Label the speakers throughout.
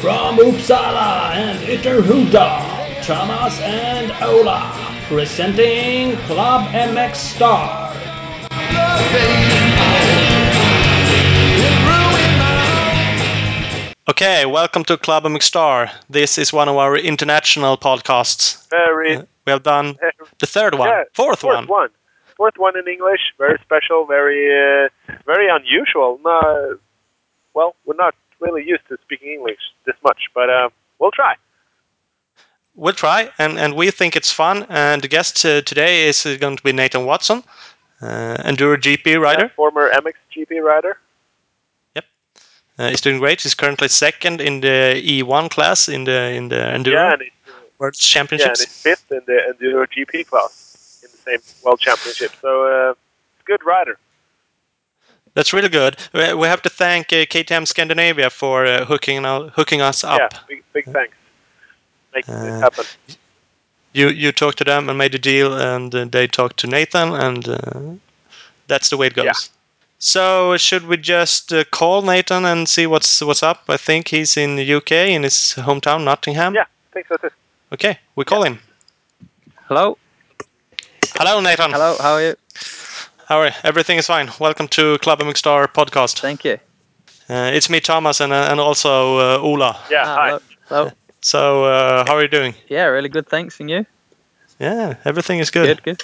Speaker 1: From Uppsala and Ytterhuda, Thomas and Ola, presenting Club MX Star.
Speaker 2: Okay, welcome to Club MX Star. This is one of our international podcasts.
Speaker 3: Very
Speaker 2: We have done the third one,
Speaker 3: yeah,
Speaker 2: fourth, one.
Speaker 3: one, fourth one in English. Very special, very uh, very unusual. No, well, we're not really used to speaking English this much, but uh, we'll try.
Speaker 2: We'll try, and, and we think it's fun. And the guest uh, today is uh, going to be Nathan Watson, uh, Enduro GP rider.
Speaker 3: Former MXGP rider.
Speaker 2: Uh, he's doing great. He's currently second in the E1 class in the in the Enduro
Speaker 3: Yeah, and he's,
Speaker 2: World
Speaker 3: yeah, and
Speaker 2: Championships.
Speaker 3: he's fifth in the Enduro GP class in the same World Championship. So, uh, good rider.
Speaker 2: That's really good. We we have to thank uh, KTM Scandinavia for uh, hooking out, hooking us up.
Speaker 3: Yeah, big, big thanks. Making
Speaker 2: Uh,
Speaker 3: this happen.
Speaker 2: You you talked to them and made a deal, and uh, they talked to Nathan, and uh, that's the way it goes.
Speaker 3: Yeah.
Speaker 2: So should we just uh, call Nathan and see what's what's up? I think he's in the UK in his hometown, Nottingham.
Speaker 3: Yeah, thanks for this.
Speaker 2: Okay, we call him.
Speaker 4: Hello,
Speaker 2: Hello, Nathan.
Speaker 4: hello. How are you?
Speaker 2: How are you? Everything is fine. Welcome to Club MX Star podcast.
Speaker 4: Thank you.
Speaker 2: Uh, it's me, Thomas, and uh, and also uh, Ola.
Speaker 3: Yeah,
Speaker 4: Ah,
Speaker 3: hi.
Speaker 4: hello, hello.
Speaker 2: So uh, how are you doing?
Speaker 4: Yeah, really good. Thanks, and you?
Speaker 2: Yeah, everything is good.
Speaker 4: Good, good.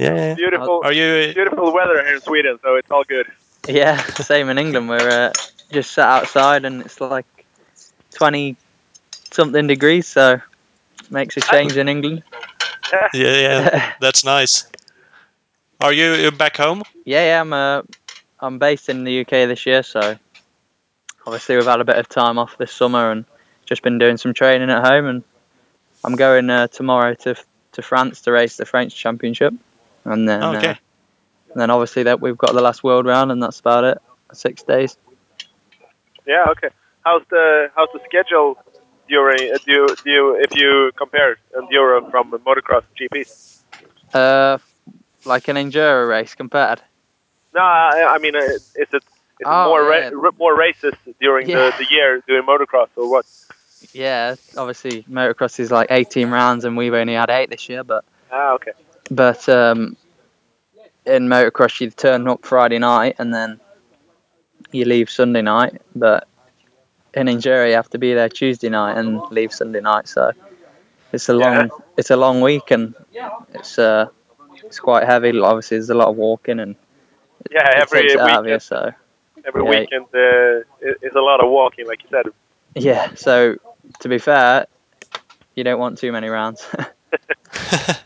Speaker 2: Yeah, yeah. yeah.
Speaker 3: Beautiful,
Speaker 2: Are you?
Speaker 3: beautiful weather here in Sweden, so it's all good.
Speaker 4: Yeah, same in England. We're uh, just sat outside and it's like twenty something degrees, so makes a change in England.
Speaker 2: Yeah, yeah. That's nice. Are you you uh, back home?
Speaker 4: Yeah, yeah. I'm uh, I'm based in the UK this year, so obviously we've had a bit of time off this summer and just been doing some training at home. And I'm going uh, tomorrow to to France to race the French Championship, and then
Speaker 2: Okay.
Speaker 4: uh, and then obviously that we've got the last World Round, and that's about it. Six days.
Speaker 3: Yeah. Okay. How's the how's the schedule during uh, do you, do you, if you compare enduro from the motocross GPs?
Speaker 4: Uh, like an enduro race compared.
Speaker 3: No, I, I mean, uh, is it is it
Speaker 4: Oh,
Speaker 3: more ra-
Speaker 4: yeah.
Speaker 3: r- more races during
Speaker 4: Yeah.
Speaker 3: the, the year doing motocross or what?
Speaker 4: Yeah, obviously motocross is like 18 rounds, and we've only had eight this year, but.
Speaker 3: Ah, okay.
Speaker 4: but um, in motocross you turn up Friday night and then you leave Sunday night. But in enduro you have to be there Tuesday night and leave Sunday night. So it's a long
Speaker 3: Yeah.
Speaker 4: it's a long week and it's uh, it's quite heavy. Obviously there's a lot of walking and
Speaker 3: Yeah,
Speaker 4: it
Speaker 3: every
Speaker 4: takes it out of you.
Speaker 3: weekend,
Speaker 4: So
Speaker 3: every
Speaker 4: yeah.
Speaker 3: weekend uh, i- is a lot of walking, like you said.
Speaker 4: yeah. So to be fair, you don't want too many rounds.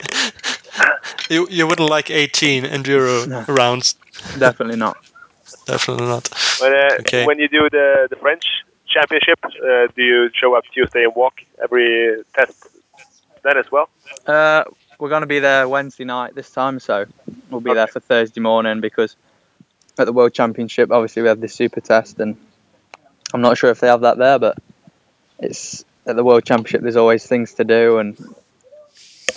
Speaker 2: You you wouldn't like 18 enduro
Speaker 4: No.
Speaker 2: rounds,
Speaker 4: Definitely not.
Speaker 2: definitely not.
Speaker 3: But uh,
Speaker 2: Okay.
Speaker 3: when you do the the French championship, uh, do you show up Tuesday and walk every test then as well?
Speaker 4: Uh, we're going to be there Wednesday night this time, so we'll be there
Speaker 3: Okay.
Speaker 4: for Thursday morning because at the World Championship, obviously, we have this super test, and I'm not sure if they have that there, but it's at the World Championship, there's always things to do, and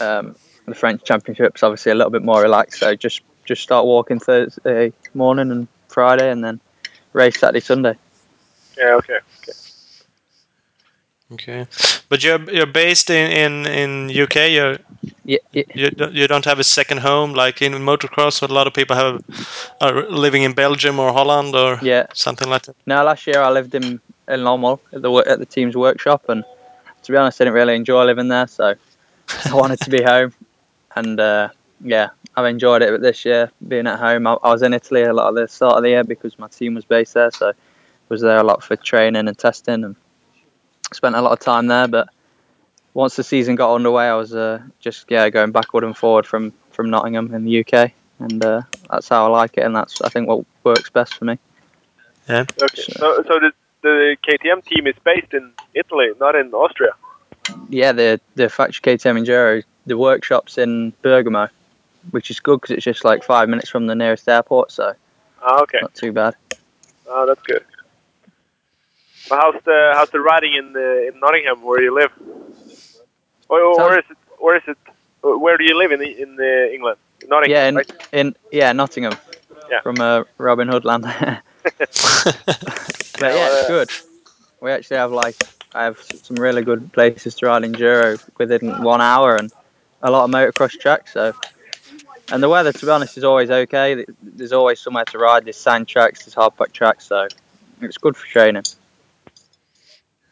Speaker 4: um, the French Championship's obviously a little bit more relaxed, so just, just start walking Thursday morning and Friday, and then race Saturday, Sunday.
Speaker 3: Yeah. Okay.
Speaker 2: Okay, but you're you're based in in in UK. You're,
Speaker 4: Yeah, yeah,
Speaker 2: you don't- you don't have a second home like in motocross. What a lot of people have are living in Belgium or Holland or
Speaker 4: yeah.
Speaker 2: something like that.
Speaker 4: No, last year I lived in in Lomwell at the wo- at the team's workshop, and to be honest, I didn't really enjoy living there, so I wanted to be home. And uh, yeah, I've enjoyed it. But this year, being at home, I, I was in Italy a lot of the start of the year because my team was based there, so was there a lot for training and testing, and spent a lot of time there. But once the season got underway, I was uh, just yeah going backward and forward from from Nottingham in the UK, and uh, that's how I like it, and that's I think what works best for me.
Speaker 3: Okay. So, so the, the KTM team is based in Italy, not in Austria.
Speaker 4: yeah, the the factory KTM Enduro, the workshops in Bergamo, which is good because it's just like five minutes from the nearest airport, so
Speaker 3: Ah, okay.
Speaker 4: not too bad.
Speaker 3: Oh, that's good. Well, how's the how's the riding in the, in Nottingham where you live? Or, or
Speaker 4: So-
Speaker 3: where is it? Where is it? or Where do you live in the, in the England? Nottingham.
Speaker 4: Yeah, in,
Speaker 3: right?
Speaker 4: in yeah Nottingham,
Speaker 3: Yeah.
Speaker 4: from uh, Robin Hood land. but
Speaker 3: Yeah,
Speaker 4: yeah,
Speaker 3: well,
Speaker 4: it's
Speaker 3: uh,
Speaker 4: good. We actually have like I have s- some really good places to ride enduro within one hour and a lot of motocross tracks. So, and the weather, to be honest, is always okay. Th- There's always somewhere to ride. There's sand tracks, there's hardpack tracks, so it's good for training.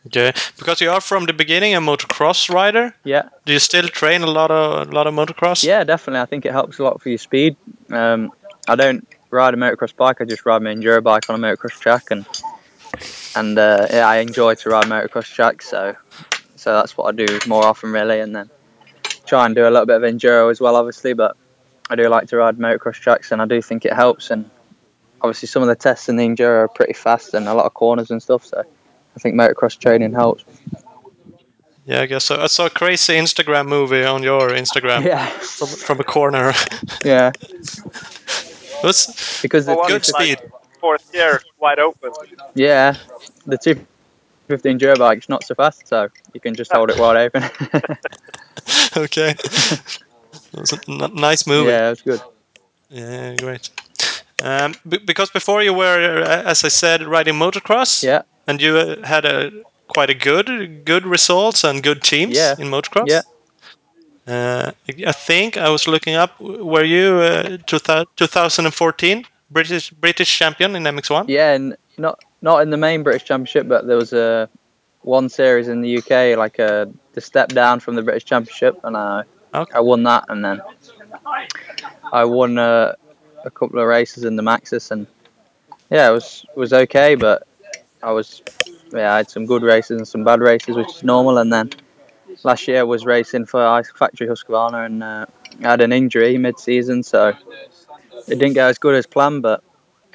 Speaker 2: Okay, because you are from the beginning a motocross rider.
Speaker 4: Yeah.
Speaker 2: Do you still train a lot of a lot of motocross?
Speaker 4: Yeah, definitely. I think it helps a lot for your speed. Um, I don't ride a motocross bike. I just ride my enduro bike on a motocross track, and and uh, yeah, I enjoy to ride motocross tracks. So so that's what I do more often, really. And then try and do a little bit of enduro as well, obviously. But I do like to ride motocross tracks, and I do think it helps. And obviously, some of the tests in the enduro are pretty fast and a lot of corners and stuff. So I think motocross training helps.
Speaker 2: Yeah, I guess so. I saw a crazy Instagram movie on your Instagram
Speaker 4: Yeah,
Speaker 2: from, from a corner.
Speaker 4: yeah,
Speaker 2: That's
Speaker 4: because
Speaker 3: Well,
Speaker 4: the-
Speaker 3: one
Speaker 2: good
Speaker 3: is like
Speaker 2: speed.
Speaker 3: fourth gear, wide open.
Speaker 4: Yeah, the 250 enduro bike's not so fast, so you can just hold it wide open.
Speaker 2: okay. That's a n- nice movie.
Speaker 4: yeah, it's good.
Speaker 2: Yeah, great. Um, b- because before you were, uh, as I said, riding motocross,
Speaker 4: Yeah,
Speaker 2: and you uh, had a quite a good good results and good teams
Speaker 4: Yeah.
Speaker 2: in motocross.
Speaker 4: Yeah.
Speaker 2: Uh, I think I was looking up. Were you uh, 2000 2014 British British champion in MX1?
Speaker 4: yeah, and not not in the main British Championship, but there was a one series in the UK, like a the step down from the British Championship, and I
Speaker 2: Okay.
Speaker 4: I won that, and then I won uh, a couple of races in the Maxis, and yeah, it was was okay, but I was yeah, I had some good races and some bad races, which is normal, and then. last year was racing for Ice Factory Husqvarna and uh, had an injury mid-season, so it didn't go as good as planned. But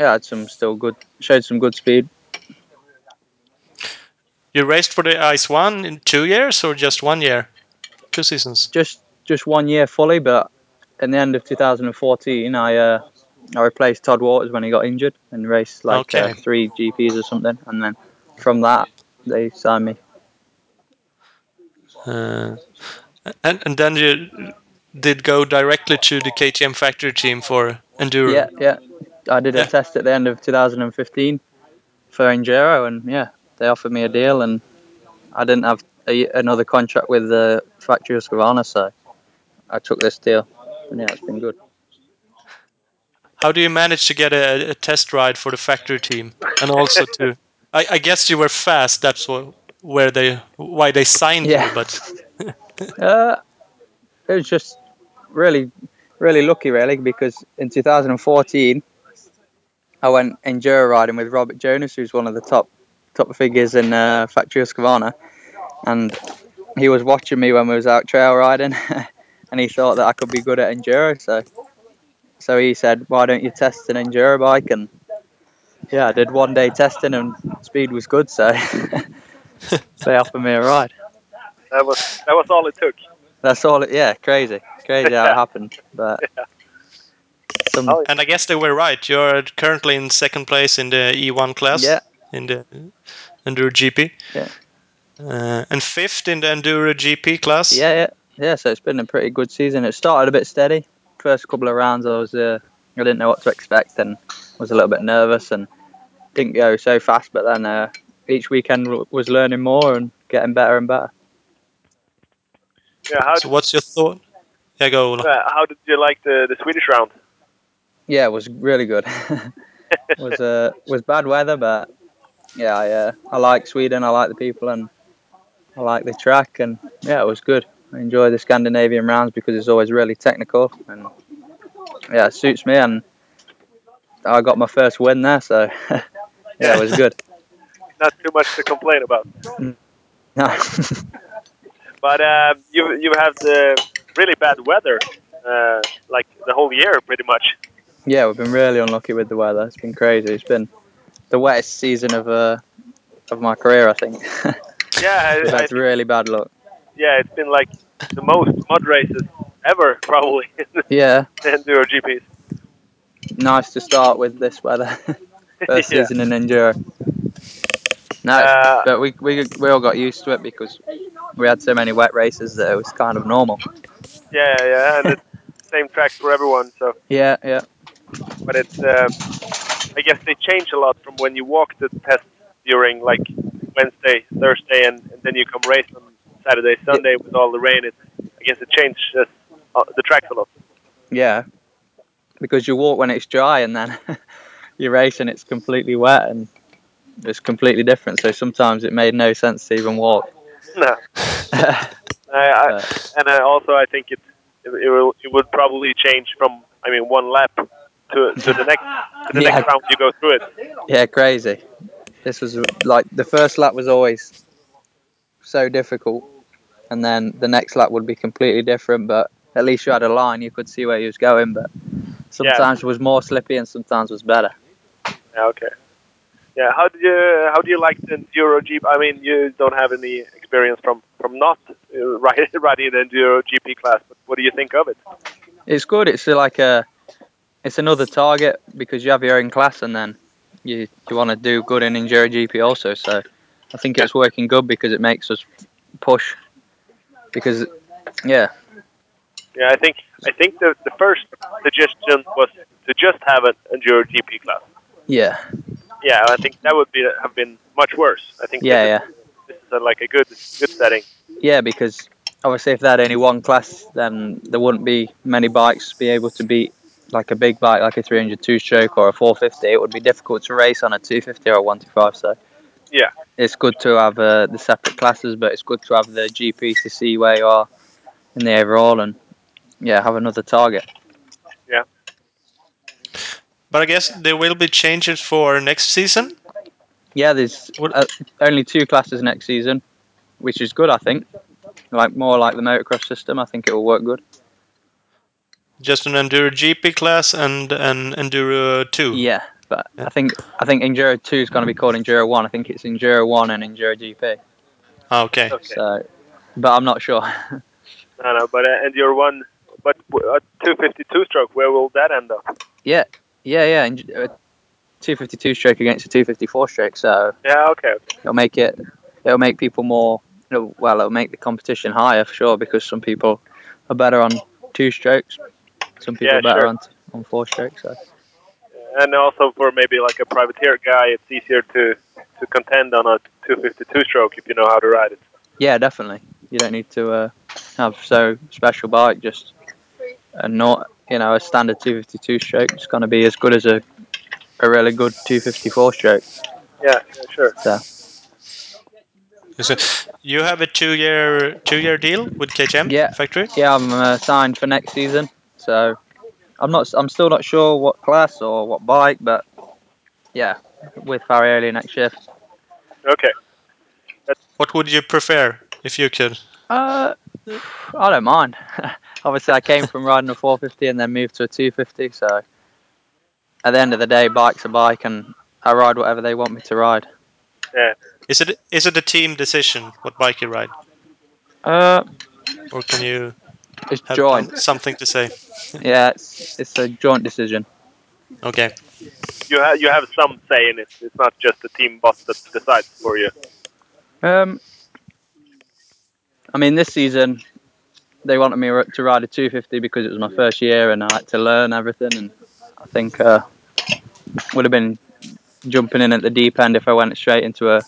Speaker 4: yeah, had some still good, showed some good speed.
Speaker 2: You raced for the Ice One in two years or just one year? Two seasons.
Speaker 4: Just just one year fully, but in the end of 2014, I uh, I replaced Todd Waters when he got injured and raced like uh,
Speaker 2: Okay.
Speaker 4: three GPs or something, and then from that they signed me.
Speaker 2: Uh, and and then you did go directly to the KTM factory team for enduro.
Speaker 4: Yeah, yeah. I did a
Speaker 2: Yeah.
Speaker 4: test at the end of 2015 for Enduro, and yeah, they offered me a deal, and I didn't have a, another contract with the factory Husqvarna, so I took this deal, and yeah, it's been good.
Speaker 2: How do you manage to get a, a test ride for the factory team, and also to? I, I guess you were fast. That's what, where they why they signed
Speaker 4: Yeah.
Speaker 2: you. But
Speaker 4: Uh, it was just really, really lucky, really, because in 2014 I went enduro riding with Robert Jonas, who's one of the top top figures in uh, factory Husqvarna, and he was watching me when we was out trail riding, and he thought that I could be good at enduro, so so he said, why don't you test an enduro bike and yeah, I did one day testing and speed was good, so they offered me a ride.
Speaker 3: That was that was all it took.
Speaker 4: That's all. It, yeah, crazy, crazy how it happened. But some,
Speaker 3: Oh,
Speaker 2: and I guess they were right. You're currently in second place in the E1 class
Speaker 4: yeah,
Speaker 2: in the Enduro GP.
Speaker 4: Yeah.
Speaker 2: Uh, and fifth in the Enduro GP class.
Speaker 4: yeah, yeah, yeah. So it's been a pretty good season. It started a bit steady. First couple of rounds, I was, uh, I didn't know what to expect and was a little bit nervous and didn't go so fast. But then uh, each weekend w- was learning more and getting better and better.
Speaker 3: yeah. How
Speaker 2: So what's your thought? Yeah, go. Ola.
Speaker 3: uh, how did you like the, the Swedish round?
Speaker 4: Yeah, it was really good. was uh, was bad weather, but yeah, I, uh, I like Sweden. I like the people, and I like the track, and yeah, it was good. I enjoy the Scandinavian rounds because it's always really technical, and yeah, it suits me. And I got my first win there, so yeah, it was good.
Speaker 3: Not too much to complain about.
Speaker 4: No.
Speaker 3: But um, you you have the really bad weather, uh, like the whole year pretty much.
Speaker 4: yeah, we've been really unlucky with the weather. It's been crazy. It's been the wettest season of uh, of my career, I think.
Speaker 3: Yeah,
Speaker 4: We've
Speaker 3: I, I,
Speaker 4: had really bad luck.
Speaker 3: yeah. It's been like the most mud races ever, probably in the
Speaker 4: Yeah.
Speaker 3: Enduro GPs.
Speaker 4: nice to start with this weather. First
Speaker 3: Yeah.
Speaker 4: season in enduro. No,
Speaker 3: Uh,
Speaker 4: but we, we we all got used to it because we had so many wet races that it was kind of normal.
Speaker 3: Yeah, yeah, and it's same track for everyone. So,
Speaker 4: Yeah, yeah,
Speaker 3: but it's um, I guess they change a lot from when you walk the test during like Wednesday, Thursday, and, and then you come race on Saturday, Sunday with all the rain. It, I guess it changed uh, uh, the tracks a lot.
Speaker 4: Yeah, because you walk when it's dry and then you race and it's completely wet and it's completely different. So sometimes it made no sense to even walk.
Speaker 3: No. I, I,
Speaker 4: Uh,
Speaker 3: and I also I think it it, it, will, it would probably change from I mean one lap to to the next to the
Speaker 4: Yeah.
Speaker 3: next round you go through it.
Speaker 4: Yeah, crazy. This was like the first lap was always so difficult, and then the next lap would be completely different. But at least you had a line; you could see where you was going. But sometimes was more slippy, and sometimes was better.
Speaker 3: Yeah, okay. Yeah, how do you how do you like the enduro jeep? I mean, you don't have any experience from from not uh, riding riding the enduro GP class, but what do you think of it?
Speaker 4: It's good. It's like a, it's another target because you have your own class, and then you you want to do good in enduro GP also. So I think it's working good because it makes us push. Because yeah,
Speaker 3: Yeah, I think I think the the first suggestion was to just have an enduro GP class.
Speaker 4: yeah,
Speaker 3: Yeah, I think that would be have been much worse. I think
Speaker 4: yeah,
Speaker 3: this
Speaker 4: yeah.
Speaker 3: is, this is a, like a good good setting.
Speaker 4: Yeah, because obviously if they had only one class, then there wouldn't be many bikes be able to beat like a big bike, like a 300 two-stroke or a 450. It would be difficult to race on a 250 or a 125. So
Speaker 3: Yeah.
Speaker 4: it's good to have uh, the separate classes, but it's good to have the GP to see where you are in the overall and yeah, have another target.
Speaker 2: But I guess there will be changes for next season.
Speaker 4: Yeah, there's
Speaker 2: What-
Speaker 4: uh, only two classes next season, which is good, I think. Like more like the motocross system, I think it will work good.
Speaker 2: Just an enduro GP class and an enduro two.
Speaker 4: Yeah, but
Speaker 2: Yeah.
Speaker 4: I think I think Enduro Two is going to be called Enduro One. I think it's Enduro One and Enduro GP.
Speaker 2: Ah, okay.
Speaker 3: Okay.
Speaker 4: So, but I'm not sure.
Speaker 3: No, no, but uh, and your one, but uh, 252 stroke, where will that end up?
Speaker 4: yeah, yeah, and, uh, 252 stroke against a 254 stroke. So
Speaker 3: Yeah, okay.
Speaker 4: it'll make it it'll make people more. it'll- Well, it'll make the competition higher for sure because some people are better on two strokes, some people
Speaker 3: Yeah,
Speaker 4: are better
Speaker 3: sure.
Speaker 4: on on four strokes. So
Speaker 3: And also for maybe like a privateer guy, it's easier to to contend on a 252 stroke if you know how to ride it.
Speaker 4: yeah, definitely. You don't need to uh, have so special bike just and not you know a standard 252 stroke it's going to be as good as a a really good 254 stroke
Speaker 3: Yeah, yeah sure.
Speaker 2: So you have a two-year two-year deal with KTM
Speaker 4: Yeah.
Speaker 2: factory.
Speaker 4: yeah i'm uh, signed for next season so i'm not i'm still not sure what class or what bike but yeah with Farioli next year
Speaker 3: Okay.
Speaker 2: What would you prefer if you could?
Speaker 4: uh i don't mind obviously i came from riding a 450 and then moved to a 250 so at the end of the day bike's a bike and i ride whatever they want me to ride
Speaker 2: Is it is it a team decision what bike you ride,
Speaker 4: uh
Speaker 2: or can you
Speaker 4: it's
Speaker 2: have
Speaker 4: joint
Speaker 2: something to say?
Speaker 4: yeah it's, it's a joint decision
Speaker 2: Okay.
Speaker 3: You have you have some say in it. It's not just the team boss that decides for you.
Speaker 4: Um, I mean, this season they wanted me to ride a 250 because it was my first year and I had to learn everything. And I think uh, would have been jumping in at the deep end if I went straight into a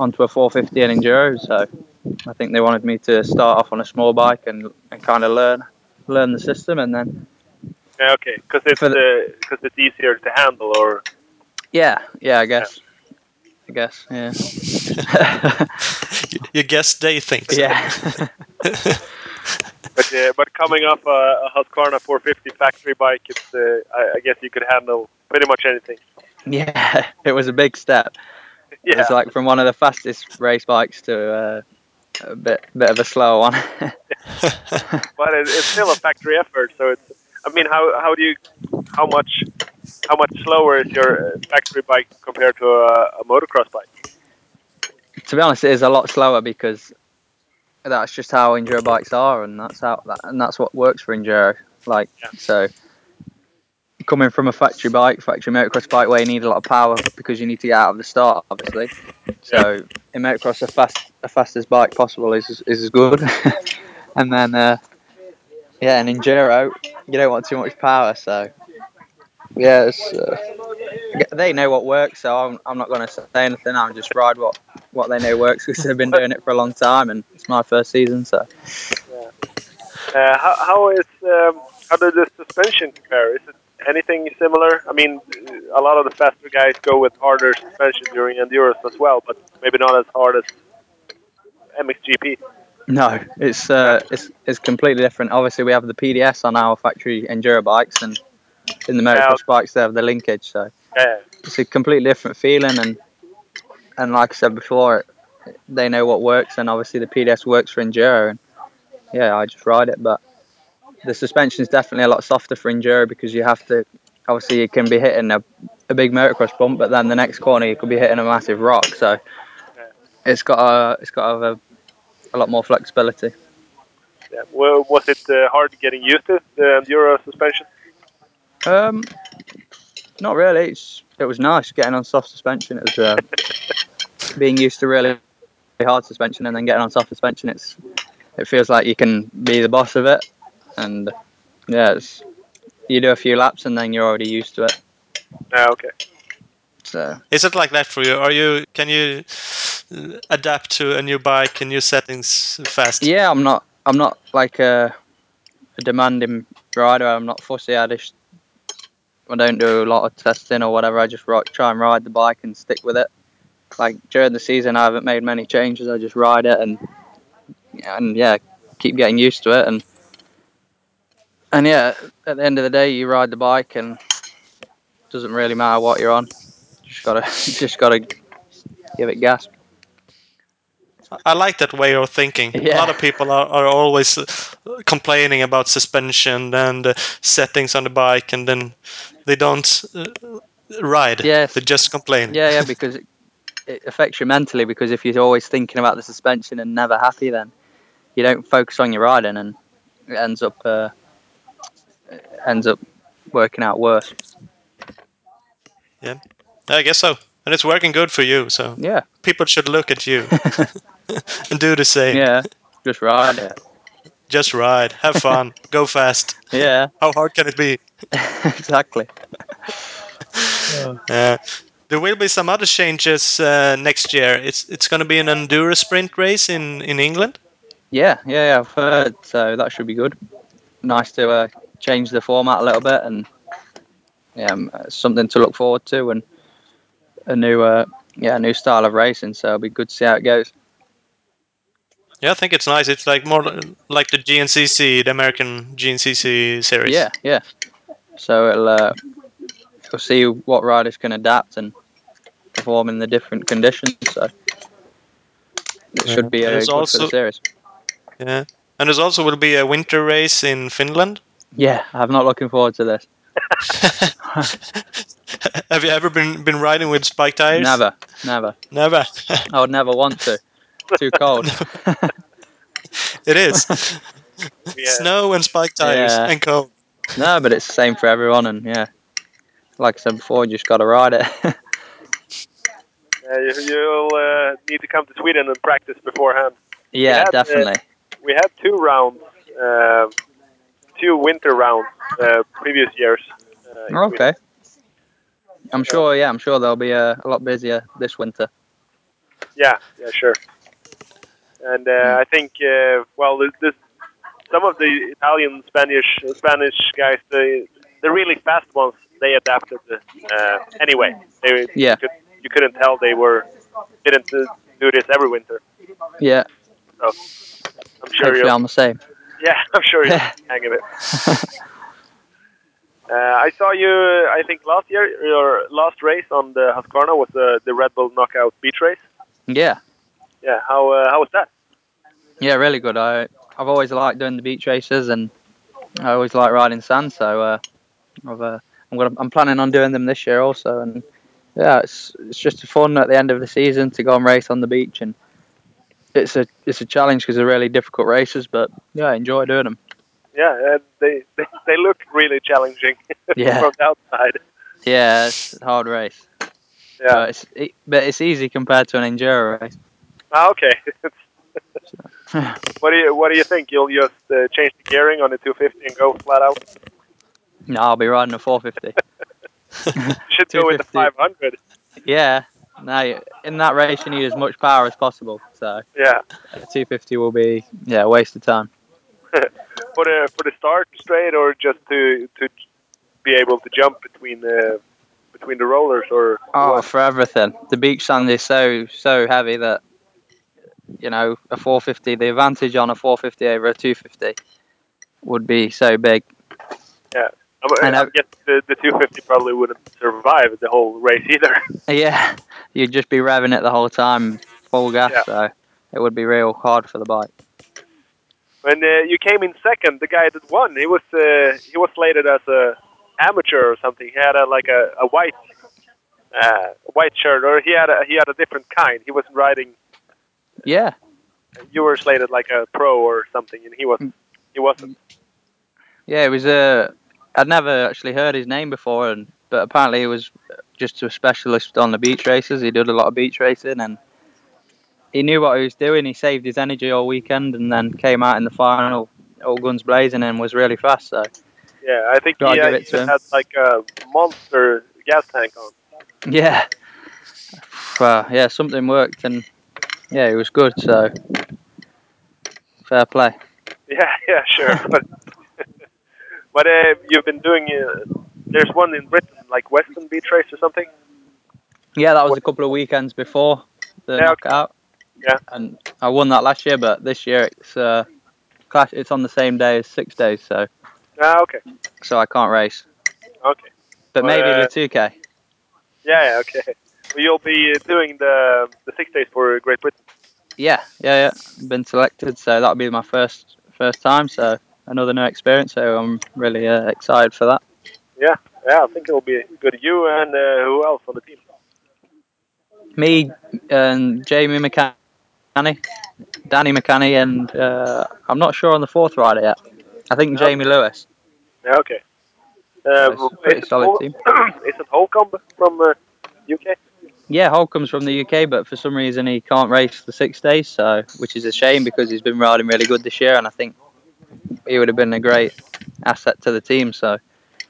Speaker 4: onto a 450 and enduro. So I think they wanted me to start off on a small bike and, and kind of learn learn the system and then
Speaker 3: Yeah, okay. Because it's
Speaker 4: For
Speaker 3: because it's easier to handle or
Speaker 4: yeah yeah I guess I guess yeah
Speaker 2: You- You guess they think. so.
Speaker 4: yeah
Speaker 3: But uh, but coming off a, a Husqvarna 450 factory bike, it's uh, I, I guess you could handle pretty much anything.
Speaker 4: yeah it was a big step.
Speaker 3: Yeah,
Speaker 4: It's like from one of the fastest race bikes to uh, a bit bit of a slow one.
Speaker 3: but it, it's still a factory effort. So it's I mean, how how do you how much how much slower is your uh, factory bike compared to a, a motocross bike?
Speaker 4: to be honest, it is a lot slower because that's just how enduro bikes are, and that's how that, and that's what works for enduro. Like
Speaker 3: Yeah.
Speaker 4: so, coming from a factory bike, factory motocross bike, where you need a lot of power because you need to get out of the start, obviously. So in motocross, the fast the fastest bike possible is is good, and then uh, yeah, in enduro, you don't want too much power, so. Yeah, it's, uh, they know what works, so I'm, I'm not going to say anything. I'll just ride what what they know works because they've been doing it for a long time, and it's my first season, so
Speaker 3: Uh, how, how is um, how does the suspension compare? Is it anything similar? I mean, a lot of the faster guys go with harder suspension during enduros as well, but maybe not as hard as MXGP.
Speaker 4: No, it's uh, it's it's completely different. Obviously, we have the PDS on our factory enduro bikes, and in the motocross bikes they have the linkage. So
Speaker 3: Yeah,
Speaker 4: it's a completely different feeling, and and like I said before, it, they know what works, and obviously the PDS works for enduro, and yeah, I just ride it. But the suspension is definitely a lot softer for enduro because you have to obviously you can be hitting a a big motocross bump, but then the next corner you could be hitting a massive rock. So it's got a it's got a, a lot more flexibility.
Speaker 3: yeah. Well, was it uh, hard getting used to the enduro suspension?
Speaker 4: Um, not really. It's, it was nice getting on soft suspension. It was uh, being used to really hard suspension and then getting on soft suspension. It's it feels like you can be the boss of it, and yeah, it's, you do a few laps and then you're already used to it.
Speaker 3: Ah, okay.
Speaker 4: So
Speaker 2: Is it like that for you? Are you can you uh, adapt to a new bike and new settings fast?
Speaker 4: yeah, I'm not I'm not like a, a demanding rider. I'm not fussy. I just I don't do a lot of testing or whatever. I just ride, try and ride the bike and stick with it. Like during the season, I haven't made many changes. I just ride it and and yeah, keep getting used to it. And and yeah, at the end of the day, you ride the bike and it doesn't really matter what you're on. Just gotta just gotta give it gas.
Speaker 2: I like that way of thinking. A
Speaker 4: Yeah.
Speaker 2: lot of people are, are always uh, complaining about suspension and uh, settings on the bike, and then they don't uh, ride.
Speaker 4: Yes.
Speaker 2: They just complain.
Speaker 4: Yeah, yeah, because it, it affects you mentally. Because if you're always thinking about the suspension and never happy, then you don't focus on your riding, and it ends up uh, it ends up working out worse.
Speaker 2: I guess so. And it's working good for you, so
Speaker 4: Yeah,
Speaker 2: people should look at you and do the same.
Speaker 4: yeah, just ride it.
Speaker 2: Just ride, have fun, go fast.
Speaker 4: Yeah,
Speaker 2: How hard can it be?
Speaker 4: exactly.
Speaker 2: Uh, there will be some other changes uh, next year. It's it's going to be an enduro sprint race in in England.
Speaker 4: Yeah, yeah, yeah, I've heard. So that should be good. Nice to uh, change the format a little bit, and yeah, um, something to look forward to, and a new, uh, yeah, a new style of racing. So it'll be good to see how it goes.
Speaker 2: Yeah, I think it's nice. It's like more li- like the GNCC, the American GNCC series.
Speaker 4: Yeah, yeah. So it'll uh, we'll see what riders can adapt and perform in the different conditions. So it should be uh,
Speaker 2: There's
Speaker 4: good for
Speaker 2: also-
Speaker 4: the series.
Speaker 2: yeah. And there's also will be a winter race in Finland.
Speaker 4: Yeah, I'm not looking forward to this.
Speaker 2: Have you ever been been riding with spike tires?
Speaker 4: Never, never.
Speaker 2: Never.
Speaker 4: I would never want to. Too cold.
Speaker 2: it is
Speaker 3: Yeah.
Speaker 2: snow and spike tires
Speaker 4: Yeah.
Speaker 2: and cold.
Speaker 4: no, but it's the same for everyone, and yeah, like I said before, you just got to ride it.
Speaker 3: Uh, you- you'll uh, need to come to Sweden and practice beforehand.
Speaker 4: yeah,
Speaker 3: Yeah,
Speaker 4: definitely.
Speaker 3: we had two rounds, um two winter rounds uh, previous years. Uh, in Sweden.
Speaker 4: okay. I'm sure. Yeah, I'm sure they'll be uh, a lot busier this winter.
Speaker 3: Yeah, yeah, sure. And uh, I think, uh, well, this, this, some of the Italian, Spanish, Spanish guys, the the really fast ones, they adapted. Uh, anyway, they
Speaker 4: Yeah.
Speaker 3: could, you couldn't tell they were didn't do do this every winter.
Speaker 4: Yeah,
Speaker 3: I'm sure
Speaker 4: hopefully
Speaker 3: you'll
Speaker 4: I'm the same.
Speaker 3: Yeah, I'm sure you're hanging it. Uh, I saw you. uh, I think last year your last race on the Husqvarna was the the Red Bull Knockout Beach Race.
Speaker 4: Yeah.
Speaker 3: Yeah, how uh, how was that?
Speaker 4: Yeah, really good. I I've always liked doing the beach races, and I always like riding sand. So uh, I've, uh, I'm gonna, I'm planning on doing them this year also. And yeah, it's it's just fun at the end of the season to go and race on the beach, and it's a it's a challenge because they're really difficult races. But yeah, I enjoy doing them.
Speaker 3: Yeah, uh, they, they they look really challenging
Speaker 4: Yeah.
Speaker 3: from the outside.
Speaker 4: Yeah, it's a hard race.
Speaker 3: Yeah.
Speaker 4: But it's it, but it's easy compared to an enduro race.
Speaker 3: Ah, okay. what do you what do you think? You'll just uh, change the gearing on the 250 and go flat out.
Speaker 4: No, I'll be riding a 450.
Speaker 3: You should go with the
Speaker 4: 250.
Speaker 3: 500.
Speaker 4: Yeah, No, in that race you need as much power as possible. So
Speaker 3: Yeah.
Speaker 4: a 250 will be yeah a waste of time.
Speaker 3: For the for the start straight or just to to be able to jump between the between the rollers or
Speaker 4: Oh, for everything. The beach sand is so so heavy that you know a 450. The advantage on a 450 over a 250 would be so big.
Speaker 3: I,
Speaker 4: I
Speaker 3: I
Speaker 4: know.
Speaker 3: guess the, the 250 probably wouldn't survive the whole race either.
Speaker 4: Yeah, you'd just be revving it the whole time, full gas.
Speaker 3: Yeah.
Speaker 4: So it would be real hard for the bike.
Speaker 3: When uh, you came in second, the guy that won, he was uh, he was slated as a amateur or something. He had a, like a, a white uh, white shirt, or he had a, he had a different kind. He wasn't riding.
Speaker 4: Yeah,
Speaker 3: You were slated like a pro or something, and he was he wasn't.
Speaker 4: yeah. It was Uh, I'd never actually heard his name before, and but apparently he was just a specialist on the beach races. He did a lot of beach racing, and he knew what he was doing. He saved his energy all weekend, and then came out in the final all guns blazing and was really fast. So
Speaker 3: Yeah, I think he,
Speaker 4: Do I
Speaker 3: uh,
Speaker 4: give
Speaker 3: he
Speaker 4: it to him?
Speaker 3: had like a monster gas tank on.
Speaker 4: yeah, well, yeah, something worked, and yeah, he was good. So fair play.
Speaker 3: Yeah, yeah, sure. but but uh, you've been doing. Uh, there's one in Britain, like Western Beach Race or something.
Speaker 4: Yeah, that was a couple of weekends before the
Speaker 3: Yeah, okay.
Speaker 4: knockout.
Speaker 3: Yeah.
Speaker 4: And I won that last year, but this year it's uh, clash. It's on the same day as six days, so
Speaker 3: Ah, okay,
Speaker 4: so I can't race.
Speaker 3: okay.
Speaker 4: But maybe
Speaker 3: Well, uh,
Speaker 4: the two k.
Speaker 3: Yeah, yeah, okay. Well, you'll be uh, doing the the six days for Great Britain.
Speaker 4: Yeah, yeah, yeah. Been selected, so that'll be my first first time. So another new experience. So I'm really uh, excited for that.
Speaker 3: Yeah, I think it'll be good. You and uh, who else on the team?
Speaker 4: Me and Jamie McCanny, Danny McCanny, and uh, I'm not sure on the fourth rider yet. I think
Speaker 3: Yeah.
Speaker 4: Jamie Lewis.
Speaker 3: Yeah, okay. Uh,
Speaker 4: It's a pretty
Speaker 3: is it
Speaker 4: solid
Speaker 3: Hol-
Speaker 4: team.
Speaker 3: is it Holcomb from uh, UK?
Speaker 4: Yeah, Holcomb's from the UK, but for some reason he can't race the six days, so which is a shame because he's been riding really good this year, and I think he would have been a great asset to the team. So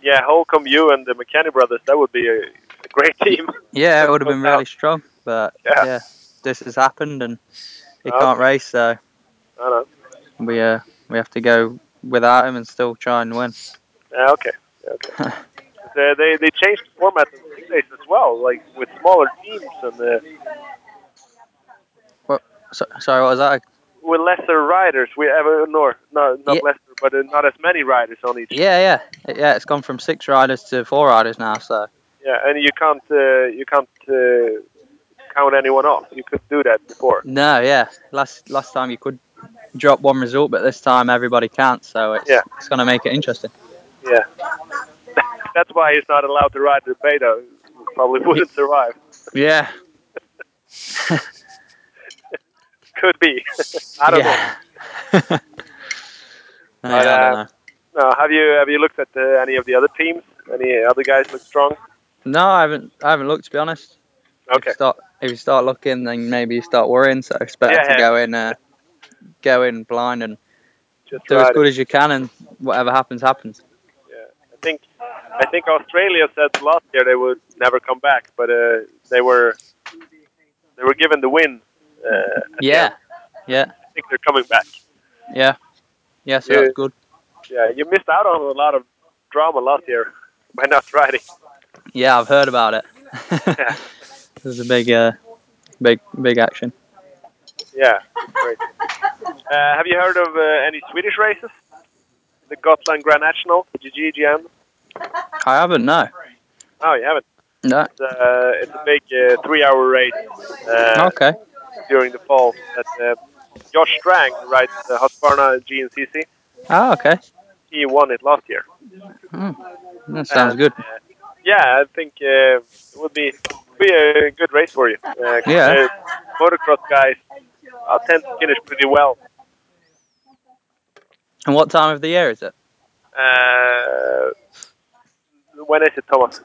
Speaker 3: Yeah, Holcomb, you and the McKenny brothers. That would be a, a great team.
Speaker 4: yeah, it would have been
Speaker 3: Yeah.
Speaker 4: really strong, but
Speaker 3: Yeah.
Speaker 4: yeah, this has happened and he
Speaker 3: Okay.
Speaker 4: can't race, so
Speaker 3: I don't know.
Speaker 4: we uh, we have to go without him and still try and win.
Speaker 3: Yeah, Ah, okay. Yeah, okay. they, they they changed the format in six days as well, like with smaller teams and uh,
Speaker 4: So, sorry, what was that?
Speaker 3: with lesser riders. We have uh, no, no, not
Speaker 4: Yeah.
Speaker 3: lesser, but uh, not as many riders on each.
Speaker 4: Yeah, yeah, yeah. It's gone from six riders to four riders now, so
Speaker 3: Yeah, and you can't uh, you can't uh, count anyone off. You could do that before.
Speaker 4: No, yeah. Last last time you could drop one result, but this time everybody can't. So it's
Speaker 3: Yeah.
Speaker 4: it's gonna make it interesting.
Speaker 3: Yeah, that's why he's not allowed to ride the beta. Probably wouldn't survive.
Speaker 4: Yeah.
Speaker 3: Could be. I don't
Speaker 4: know.
Speaker 3: But, uh,
Speaker 4: I don't know.
Speaker 3: know. No, have you have you looked at uh, any of the other teams? Any other guys look strong?
Speaker 4: No, I haven't. I haven't looked to be honest. If
Speaker 3: Okay.
Speaker 4: you start if you start looking, then maybe you start worrying. So it's better
Speaker 3: Yeah,
Speaker 4: to
Speaker 3: yeah.
Speaker 4: go in, uh, go in blind and
Speaker 3: Just
Speaker 4: do as
Speaker 3: ride it.
Speaker 4: good as you can, and whatever happens, happens.
Speaker 3: I think I think Australia said last year they would never come back, but uh, they were they were given the win. Uh, at the
Speaker 4: Yeah,
Speaker 3: end. I think they're coming back.
Speaker 4: yeah, yeah. So
Speaker 3: Yeah.
Speaker 4: that's good.
Speaker 3: Yeah, you missed out on a lot of drama last year by not riding.
Speaker 4: Yeah, I've heard about it.
Speaker 3: Yeah.
Speaker 4: It was a big, uh, big, big action.
Speaker 3: Yeah, it's great. Uh, have you heard of uh, any Swedish races? The Gotland Grand National, the GGGN?
Speaker 4: I haven't. No.
Speaker 3: Oh, you haven't.
Speaker 4: No.
Speaker 3: It's, uh, it's a big uh, three-hour race uh,
Speaker 4: Okay.
Speaker 3: during the fall. That uh, Josh Strang rides the Husqvarna GNCC.
Speaker 4: Oh, okay.
Speaker 3: He won it last year.
Speaker 4: That sounds
Speaker 3: And,
Speaker 4: good.
Speaker 3: uh, yeah, I think uh, it would be be a good race for you. Uh, 'cause,
Speaker 4: Yeah.
Speaker 3: uh, motocross guys uh, tend to finish pretty well.
Speaker 4: And what time of the year is it?
Speaker 3: Uh, when is it, Thomas?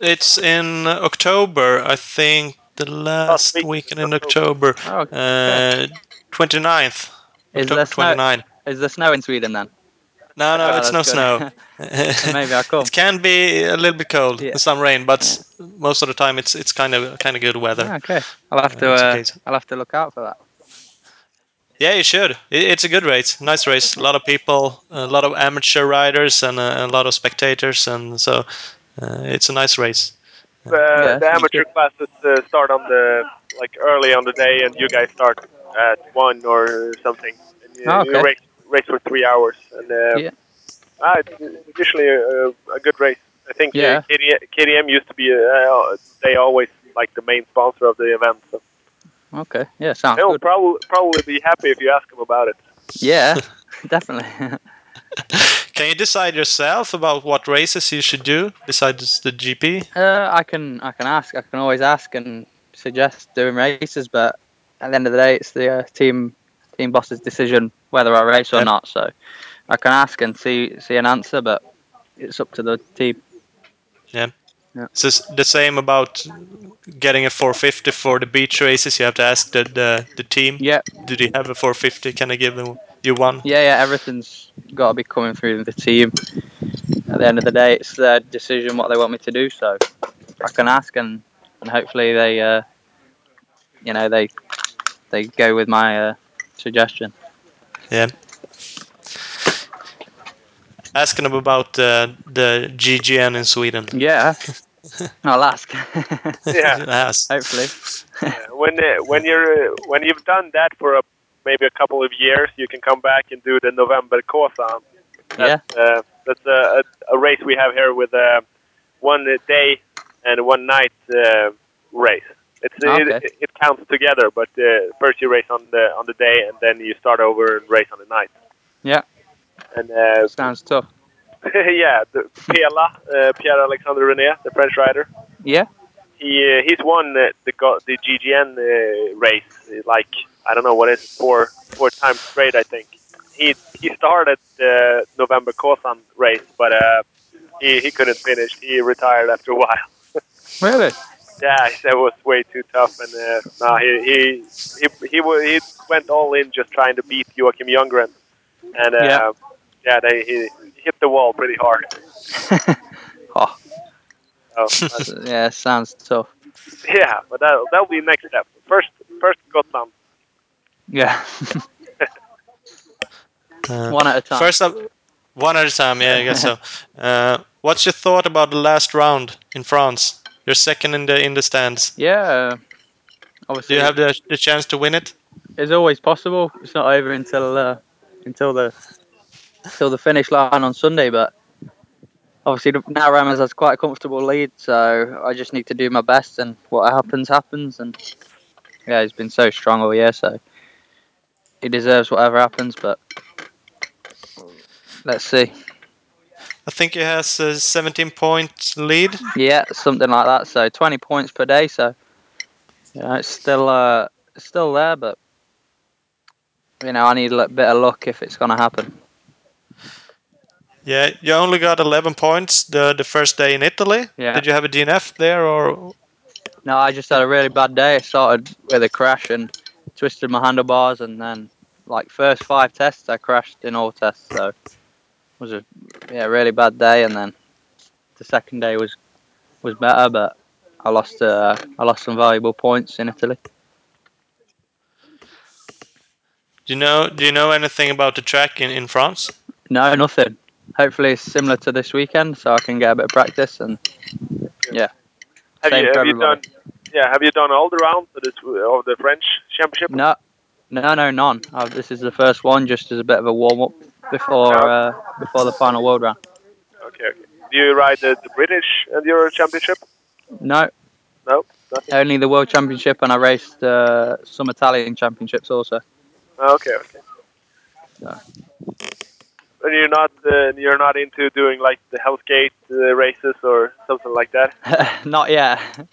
Speaker 2: It's in October, I think, the last
Speaker 3: week
Speaker 2: weekend
Speaker 3: in
Speaker 2: in October.
Speaker 4: Oh, okay.
Speaker 2: Uh, 29th.
Speaker 4: Is
Speaker 2: October
Speaker 4: there snow?
Speaker 2: 29.
Speaker 4: Is there snow in Sweden then?
Speaker 2: No, no,
Speaker 4: Oh,
Speaker 2: it's no
Speaker 4: that's
Speaker 2: snow.
Speaker 4: good. Maybe I'll come.
Speaker 2: It can be a little bit cold
Speaker 4: Yeah.
Speaker 2: and some rain, but s- most of the time it's it's kind of kind of good weather.
Speaker 4: Ah, okay, I'll have to.
Speaker 2: Uh, it's
Speaker 4: Uh,
Speaker 2: okay.
Speaker 4: I'll have to look out for that.
Speaker 2: Yeah, you should. It, it's a good race, nice race. A lot of people, a lot of amateur riders, and a, a lot of spectators, and so uh, it's a nice race.
Speaker 3: The,
Speaker 4: Yeah,
Speaker 3: uh, the
Speaker 4: sounds
Speaker 3: amateur
Speaker 4: good.
Speaker 3: classes uh, start on the like early on the day, and you guys start at one or something. And you,
Speaker 4: Oh,
Speaker 3: you
Speaker 4: okay.
Speaker 3: race race for three hours, and uh,
Speaker 4: Yeah.
Speaker 3: ah, it's, it's usually a, a good race. I think uh,
Speaker 4: Yeah.
Speaker 3: KD, KDM used to be uh, they always like the main sponsor of the event. So
Speaker 4: Okay. Yeah, sounds
Speaker 3: they'll
Speaker 4: Ah, good.
Speaker 3: probably probably be happy if you ask them about it.
Speaker 4: Yeah, definitely.
Speaker 2: Can you decide yourself about what races you should do besides the GP?
Speaker 4: Uh, I can I can ask. I can always ask and suggest doing races, but at the end of the day, it's the uh, team team boss's decision whether I race or
Speaker 2: Yeah.
Speaker 4: not. So I can ask and see see an answer, but it's up to the team.
Speaker 2: It's just the same about getting a 450 for the beach races. You have to ask the the, the team.
Speaker 4: Yeah,
Speaker 2: Do they have a 450? Can I give them you one?
Speaker 4: yeah, yeah. Everything's got to be coming through the team. At the end of the day, it's their decision what they want me to do. So I can ask and and hopefully they uh, you know they they go with my uh, suggestion.
Speaker 2: Yeah. Asking them about uh, the GGN in Sweden.
Speaker 4: Yeah, I'll ask.
Speaker 3: Yeah.
Speaker 2: Yes.
Speaker 4: hopefully.
Speaker 3: Yeah, when uh, when you're uh, when you've done that for a, maybe a couple of years, you can come back and do the November Corsa. That's, yeah, uh, that's a, a, a race we have here with uh, one day and one night uh, race. It's
Speaker 4: Ah, Okay.
Speaker 3: it, it counts together, but uh, first you race on the on the day and then you start over and race on the night.
Speaker 4: Yeah.
Speaker 3: And uh,
Speaker 4: Sounds tough.
Speaker 3: yeah, the, Piela, uh, Pierre Alexandre René, the French rider,
Speaker 4: Yeah.
Speaker 3: he uh, he's won uh, the go- the GGN uh, race uh, like I don't know what is it, four four times straight I think. He he started the November Kosan race, but uh, he he couldn't finish. He retired after a while.
Speaker 4: Really?
Speaker 3: Yeah, he said it was way too tough, and uh, no, he he he he, wa- he went all in just trying to beat Joachim Youngren, and uh,
Speaker 4: Yeah.
Speaker 3: yeah, they, he hit the wall pretty hard.
Speaker 4: oh,
Speaker 3: So, Oh, that's-
Speaker 4: yeah, sounds tough.
Speaker 3: yeah, but that that'll be next step. First first Gotland.
Speaker 4: Yeah.
Speaker 2: Uh,
Speaker 4: One at a time.
Speaker 2: First up, one at a time. Yeah, I guess so. Uh, what's your thought about the last round in France? You're second in the in the stands.
Speaker 4: Yeah.
Speaker 2: Do
Speaker 4: Obviously,
Speaker 2: you have the, the chance to win it?
Speaker 4: it's always possible. It's not over until uh, until the until the finish line on Sunday, but obviously the- now Ramos has quite a comfortable lead, so I just need to do my best, and what happens happens. And yeah, he's been so strong all year, so he deserves whatever happens. But let's see.
Speaker 2: I think he has a 17 point lead.
Speaker 4: Yeah, something like that. So 20 points per day. So you know, it's still uh, it's still there, but you know, I need a li- bit of luck if it's gonna happen.
Speaker 2: Yeah, you only got 11 points the the first day in Italy.
Speaker 4: Yeah.
Speaker 2: Did you have a DNF there or?
Speaker 4: No, I just had a really bad day. It started with a crash and twisted my handlebars, and then like first five tests, I crashed in all tests. So it was a yeah really bad day, and then the second day was was better, but I lost uh, I lost some valuable points in Italy.
Speaker 2: Do you know Do you know anything about the track in, in France?
Speaker 4: No, nothing. Hopefully, it's similar to this weekend, so I can get a bit of practice and
Speaker 3: Have
Speaker 4: Same
Speaker 3: you,
Speaker 4: for
Speaker 3: have you done?
Speaker 4: everybody.
Speaker 3: Yeah, have you done all the rounds of, this, of the French Championship?
Speaker 4: No, no, no, none. Uh, this is the first one, just as a bit of a warm up before uh, before the final world round. Mm.
Speaker 3: Okay, okay. Do you ride the, the British Enduro Championship?
Speaker 4: No,
Speaker 3: No, nothing.
Speaker 4: only the World Championship, and I raced uh, some Italian championships also.
Speaker 3: Oh, okay, okay.
Speaker 4: No.
Speaker 3: And you're not uh, you're not into doing like the Hell's Gate uh, races or something like that.
Speaker 4: Not yet. I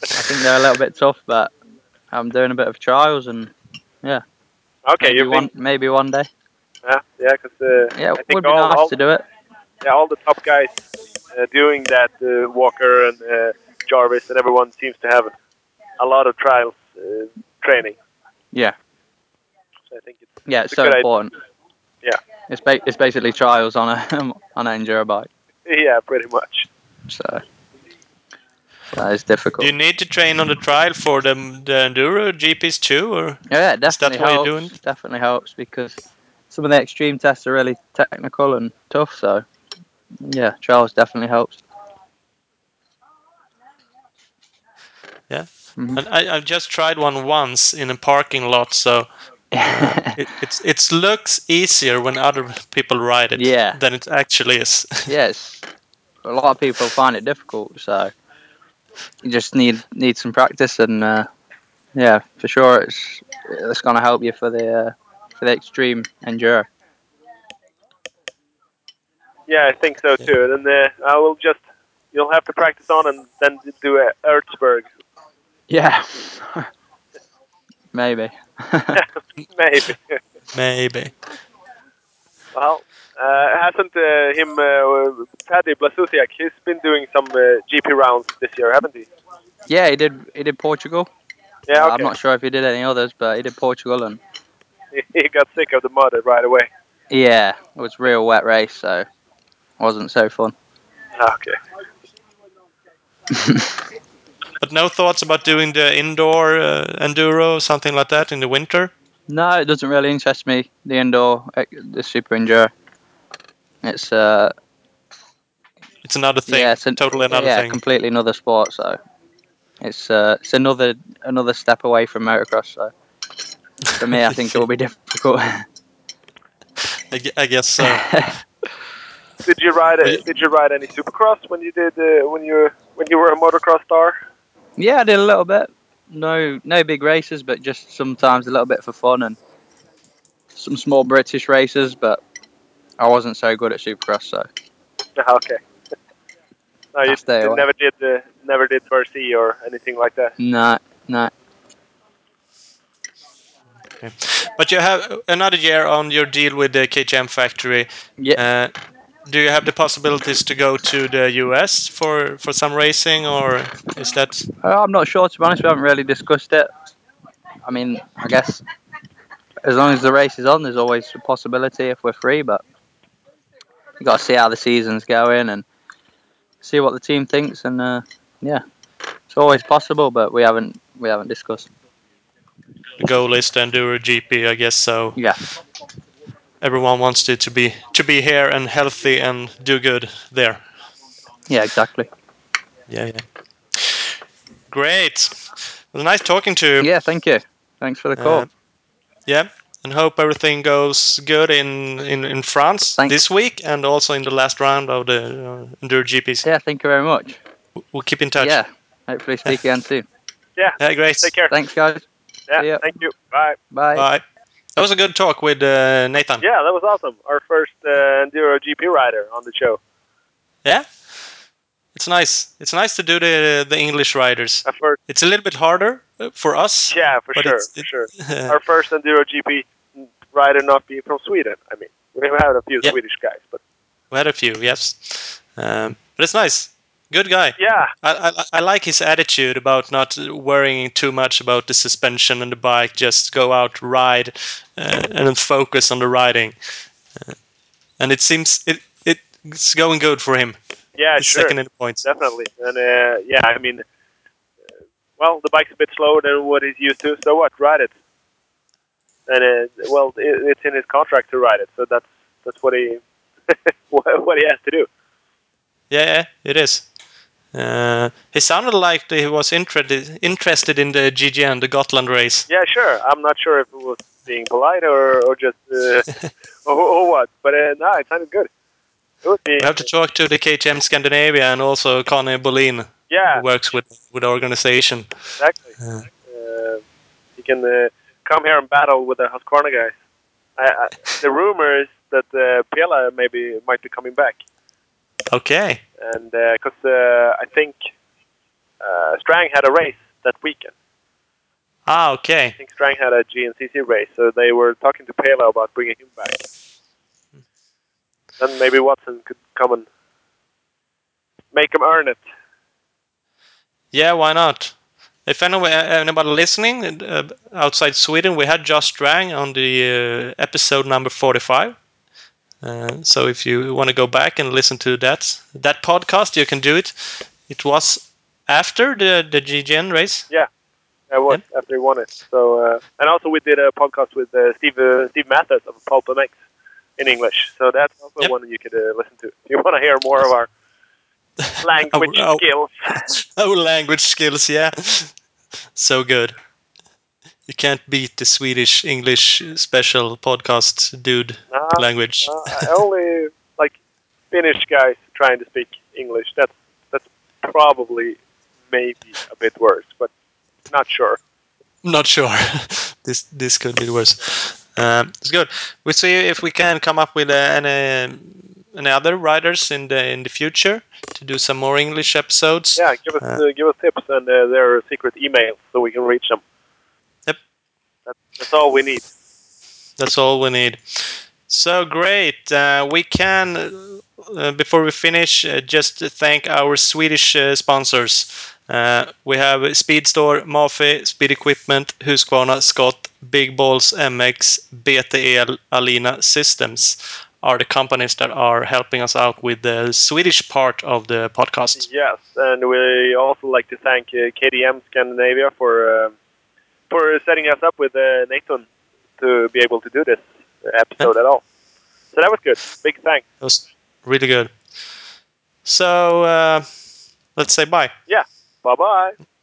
Speaker 4: think they're a little bit tough, but I'm doing a bit of trials and
Speaker 3: Okay,
Speaker 4: maybe
Speaker 3: you
Speaker 4: one
Speaker 3: think?
Speaker 4: maybe one day.
Speaker 3: Yeah, yeah, because uh,
Speaker 4: Yeah,
Speaker 3: I
Speaker 4: it
Speaker 3: think
Speaker 4: would be
Speaker 3: all,
Speaker 4: nice
Speaker 3: all,
Speaker 4: to do it.
Speaker 3: yeah, all the top guys uh, doing that, uh, Walker and uh, Jarvis and everyone seems to have a lot of trials uh, training.
Speaker 4: Yeah.
Speaker 3: So I think it's
Speaker 4: Yeah,
Speaker 3: It's
Speaker 4: it's
Speaker 3: a
Speaker 4: so
Speaker 3: good idea.
Speaker 4: important. It's ba- it's basically trials on a on an enduro bike.
Speaker 3: Yeah, pretty much.
Speaker 4: So that is difficult.
Speaker 2: Do you need to train on the trial for the, the enduro GPs too, or
Speaker 4: yeah, it definitely
Speaker 2: why you're
Speaker 4: helps.
Speaker 2: doing it?
Speaker 4: Definitely helps because some of the extreme tests are really technical and tough. So yeah, trials definitely helps.
Speaker 2: And I, I've just tried one once in a parking lot, so
Speaker 4: yeah,
Speaker 2: it it's, it's looks easier when other people ride it
Speaker 4: Yeah.
Speaker 2: than it actually is.
Speaker 4: it's a lot of people find it difficult. So you just need need some practice and uh, yeah, for sure it's it's gonna help you for the uh, for the extreme enduro.
Speaker 3: Yeah, I think so too. And uh, I will just you'll have to practice on and then do uh, Erzberg
Speaker 4: Yeah. Maybe.
Speaker 3: maybe.
Speaker 2: Maybe.
Speaker 3: well, uh, hasn't uh, him uh, Tadej Blasusiak? He's been doing some uh, GP rounds this year, haven't he?
Speaker 4: yeah, he did. He did Portugal.
Speaker 3: Yeah,
Speaker 4: Uh, I'm
Speaker 3: okay.
Speaker 4: not sure if he did any others, but he did Portugal, and
Speaker 3: he got sick of the mud right away.
Speaker 4: yeah, it was a real wet race, so wasn't so fun.
Speaker 3: Ah, Okay.
Speaker 2: But no thoughts about doing the indoor uh, enduro, something like that, in the winter.
Speaker 4: No, it doesn't really interest me. The indoor, eh, the super enduro. It's uh,
Speaker 2: It's another thing.
Speaker 4: yeah, it's an,
Speaker 2: totally another
Speaker 4: yeah,
Speaker 2: thing.
Speaker 4: completely another sport. So it's uh, it's another another step away from motocross. So for me, I think it will be difficult.
Speaker 2: I, gue- I guess so.
Speaker 3: Did you ride?
Speaker 2: Well,
Speaker 3: A,
Speaker 2: you-
Speaker 3: did you ride any supercross when you did uh, when you when you were a motocross star?
Speaker 4: Yeah, I did a little bit. No, no big races, but just sometimes a little bit for fun and some small British races. But I wasn't so good at Supercross, so
Speaker 3: Ah, Okay. No, you,
Speaker 4: That's the
Speaker 3: you
Speaker 4: way.
Speaker 3: never did uh, never did Mercy or anything like that.
Speaker 4: no, no.
Speaker 2: But you have another year on your deal with the KTM factory.
Speaker 4: Yeah,
Speaker 2: Uh, do you have the possibilities to go to the US for, for some racing, or is that
Speaker 4: Uh, I'm not sure to be honest. We haven't really discussed it. I mean, I guess as long as the race is on, there's always a possibility if we're free. But you got to see how the season's going and see what the team thinks. And uh, yeah, it's always possible, but we haven't we haven't discussed.
Speaker 2: the goal is to endure GP? I guess so.
Speaker 4: Yeah.
Speaker 2: Everyone wants it to be to be here and healthy and do good there.
Speaker 4: Yeah, exactly.
Speaker 2: Yeah, yeah. Great. Well, nice talking to you.
Speaker 4: Yeah, thank you. Thanks for the call.
Speaker 2: Uh, yeah, and hope everything goes good in in, in France
Speaker 4: Thank-
Speaker 2: this week and also in the last round of the uh, Enduro GPs.
Speaker 4: yeah, thank you very much.
Speaker 2: We'll keep in touch.
Speaker 4: Yeah, hopefully speak again soon.
Speaker 2: Yeah, great.
Speaker 3: Take care.
Speaker 4: Thanks, guys.
Speaker 3: Yeah,
Speaker 4: See ya.
Speaker 3: thank you. Bye.
Speaker 4: Bye.
Speaker 2: Bye. That was a good talk with uh, Nathan.
Speaker 3: Yeah, that was awesome. Our first uh, enduro GP rider on the show.
Speaker 2: Yeah? It's nice. It's nice to do the the English riders.
Speaker 3: Our first,
Speaker 2: It's a little bit harder uh, for us.
Speaker 3: yeah, for
Speaker 2: But
Speaker 3: sure,
Speaker 2: it's-
Speaker 3: for sure.
Speaker 2: Yeah.
Speaker 3: Our first enduro GP rider not being from Sweden. I mean, we have had a few
Speaker 2: Yeah.
Speaker 3: Swedish guys, but
Speaker 2: we had a few, yes. Um, but it's nice. Good guy.
Speaker 3: yeah,
Speaker 2: I, I, I like his attitude about not worrying too much about the suspension and the bike. Just go out, ride, uh, and then focus on the riding. Uh, and it seems it, it it's going good for him.
Speaker 3: yeah,
Speaker 2: He's
Speaker 3: sure,
Speaker 2: second in the points.
Speaker 3: definitely. And uh, yeah, I mean, uh, well, the bike's a bit slower than what he's used to. So what? Ride it. And uh, well, it, it's in his contract to ride it, so that's that's what he what he has to do.
Speaker 2: Yeah, yeah, it is. Uh, he sounded like that he was interested interested in the GGN, the Gotland race.
Speaker 3: Yeah, sure. I'm not sure if it was being polite or, or just uh, or, or what, but uh, no, it sounded good. It would be.
Speaker 2: We have to talk to the KTM Scandinavia and also Connie Bolin,
Speaker 3: yeah,
Speaker 2: who works with with the organization.
Speaker 3: exactly.
Speaker 2: Yeah.
Speaker 3: Uh, you can uh, come here and battle with the Husqvarna guys. I, I, the rumor is that uh, Pela maybe might be coming back,
Speaker 2: Okay.
Speaker 3: and because uh, I think uh, Strang had a race that weekend.
Speaker 2: Ah, okay.
Speaker 3: I think Strang had a GNCC race, so they were talking to Pela about bringing him back. Then maybe Watson could come and make him earn it.
Speaker 2: Yeah, why not? If anyone, anybody listening uh, outside Sweden, we had Josh Strang on the uh, episode number 45. Uh, so if you want to go back and listen to that that podcast, you can do it. It was after the the GGN race.
Speaker 3: Yeah, I was after he won it. So uh, and also we did a podcast with uh, Steve uh, Steve Mathis of Pulp MX in English. So that's also
Speaker 2: Yep.
Speaker 3: one that you could uh, listen to if you want to hear more of our language
Speaker 2: Oh, oh.
Speaker 3: skills.
Speaker 2: Oh, language skills, yeah, so good. You can't beat the Swedish English special podcast dude
Speaker 3: No,
Speaker 2: language.
Speaker 3: no, Uh, I only like Finnish guys trying to speak English. That's that's probably maybe a bit worse, but not sure.
Speaker 2: not sure. this this could be worse. Um, it's good. We'll see if we can come up with uh, any any other riders in the in the future to do some more English episodes.
Speaker 3: Yeah, give us uh, give us tips and uh, their secret emails so we can reach them.
Speaker 2: Yep.
Speaker 3: That's, that's all we need.
Speaker 2: That's all we need. So great. Uh, we can, uh, before we finish, uh, just to thank our Swedish uh, sponsors. Uh, we have Speed Store, Mafi, Speed Equipment, Husqvarna, Scott, Big Balls, MX, BTL, E Alina Systems are the companies that are helping us out with the Swedish part of the podcast.
Speaker 3: Yes, and we also like to thank uh, KDM Scandinavia for uh, for setting us up with uh, Nathan to be able to do this episode at all. So that was good. Big thanks.
Speaker 2: It was really good. So uh, let's say bye.
Speaker 3: Yeah. Bye bye.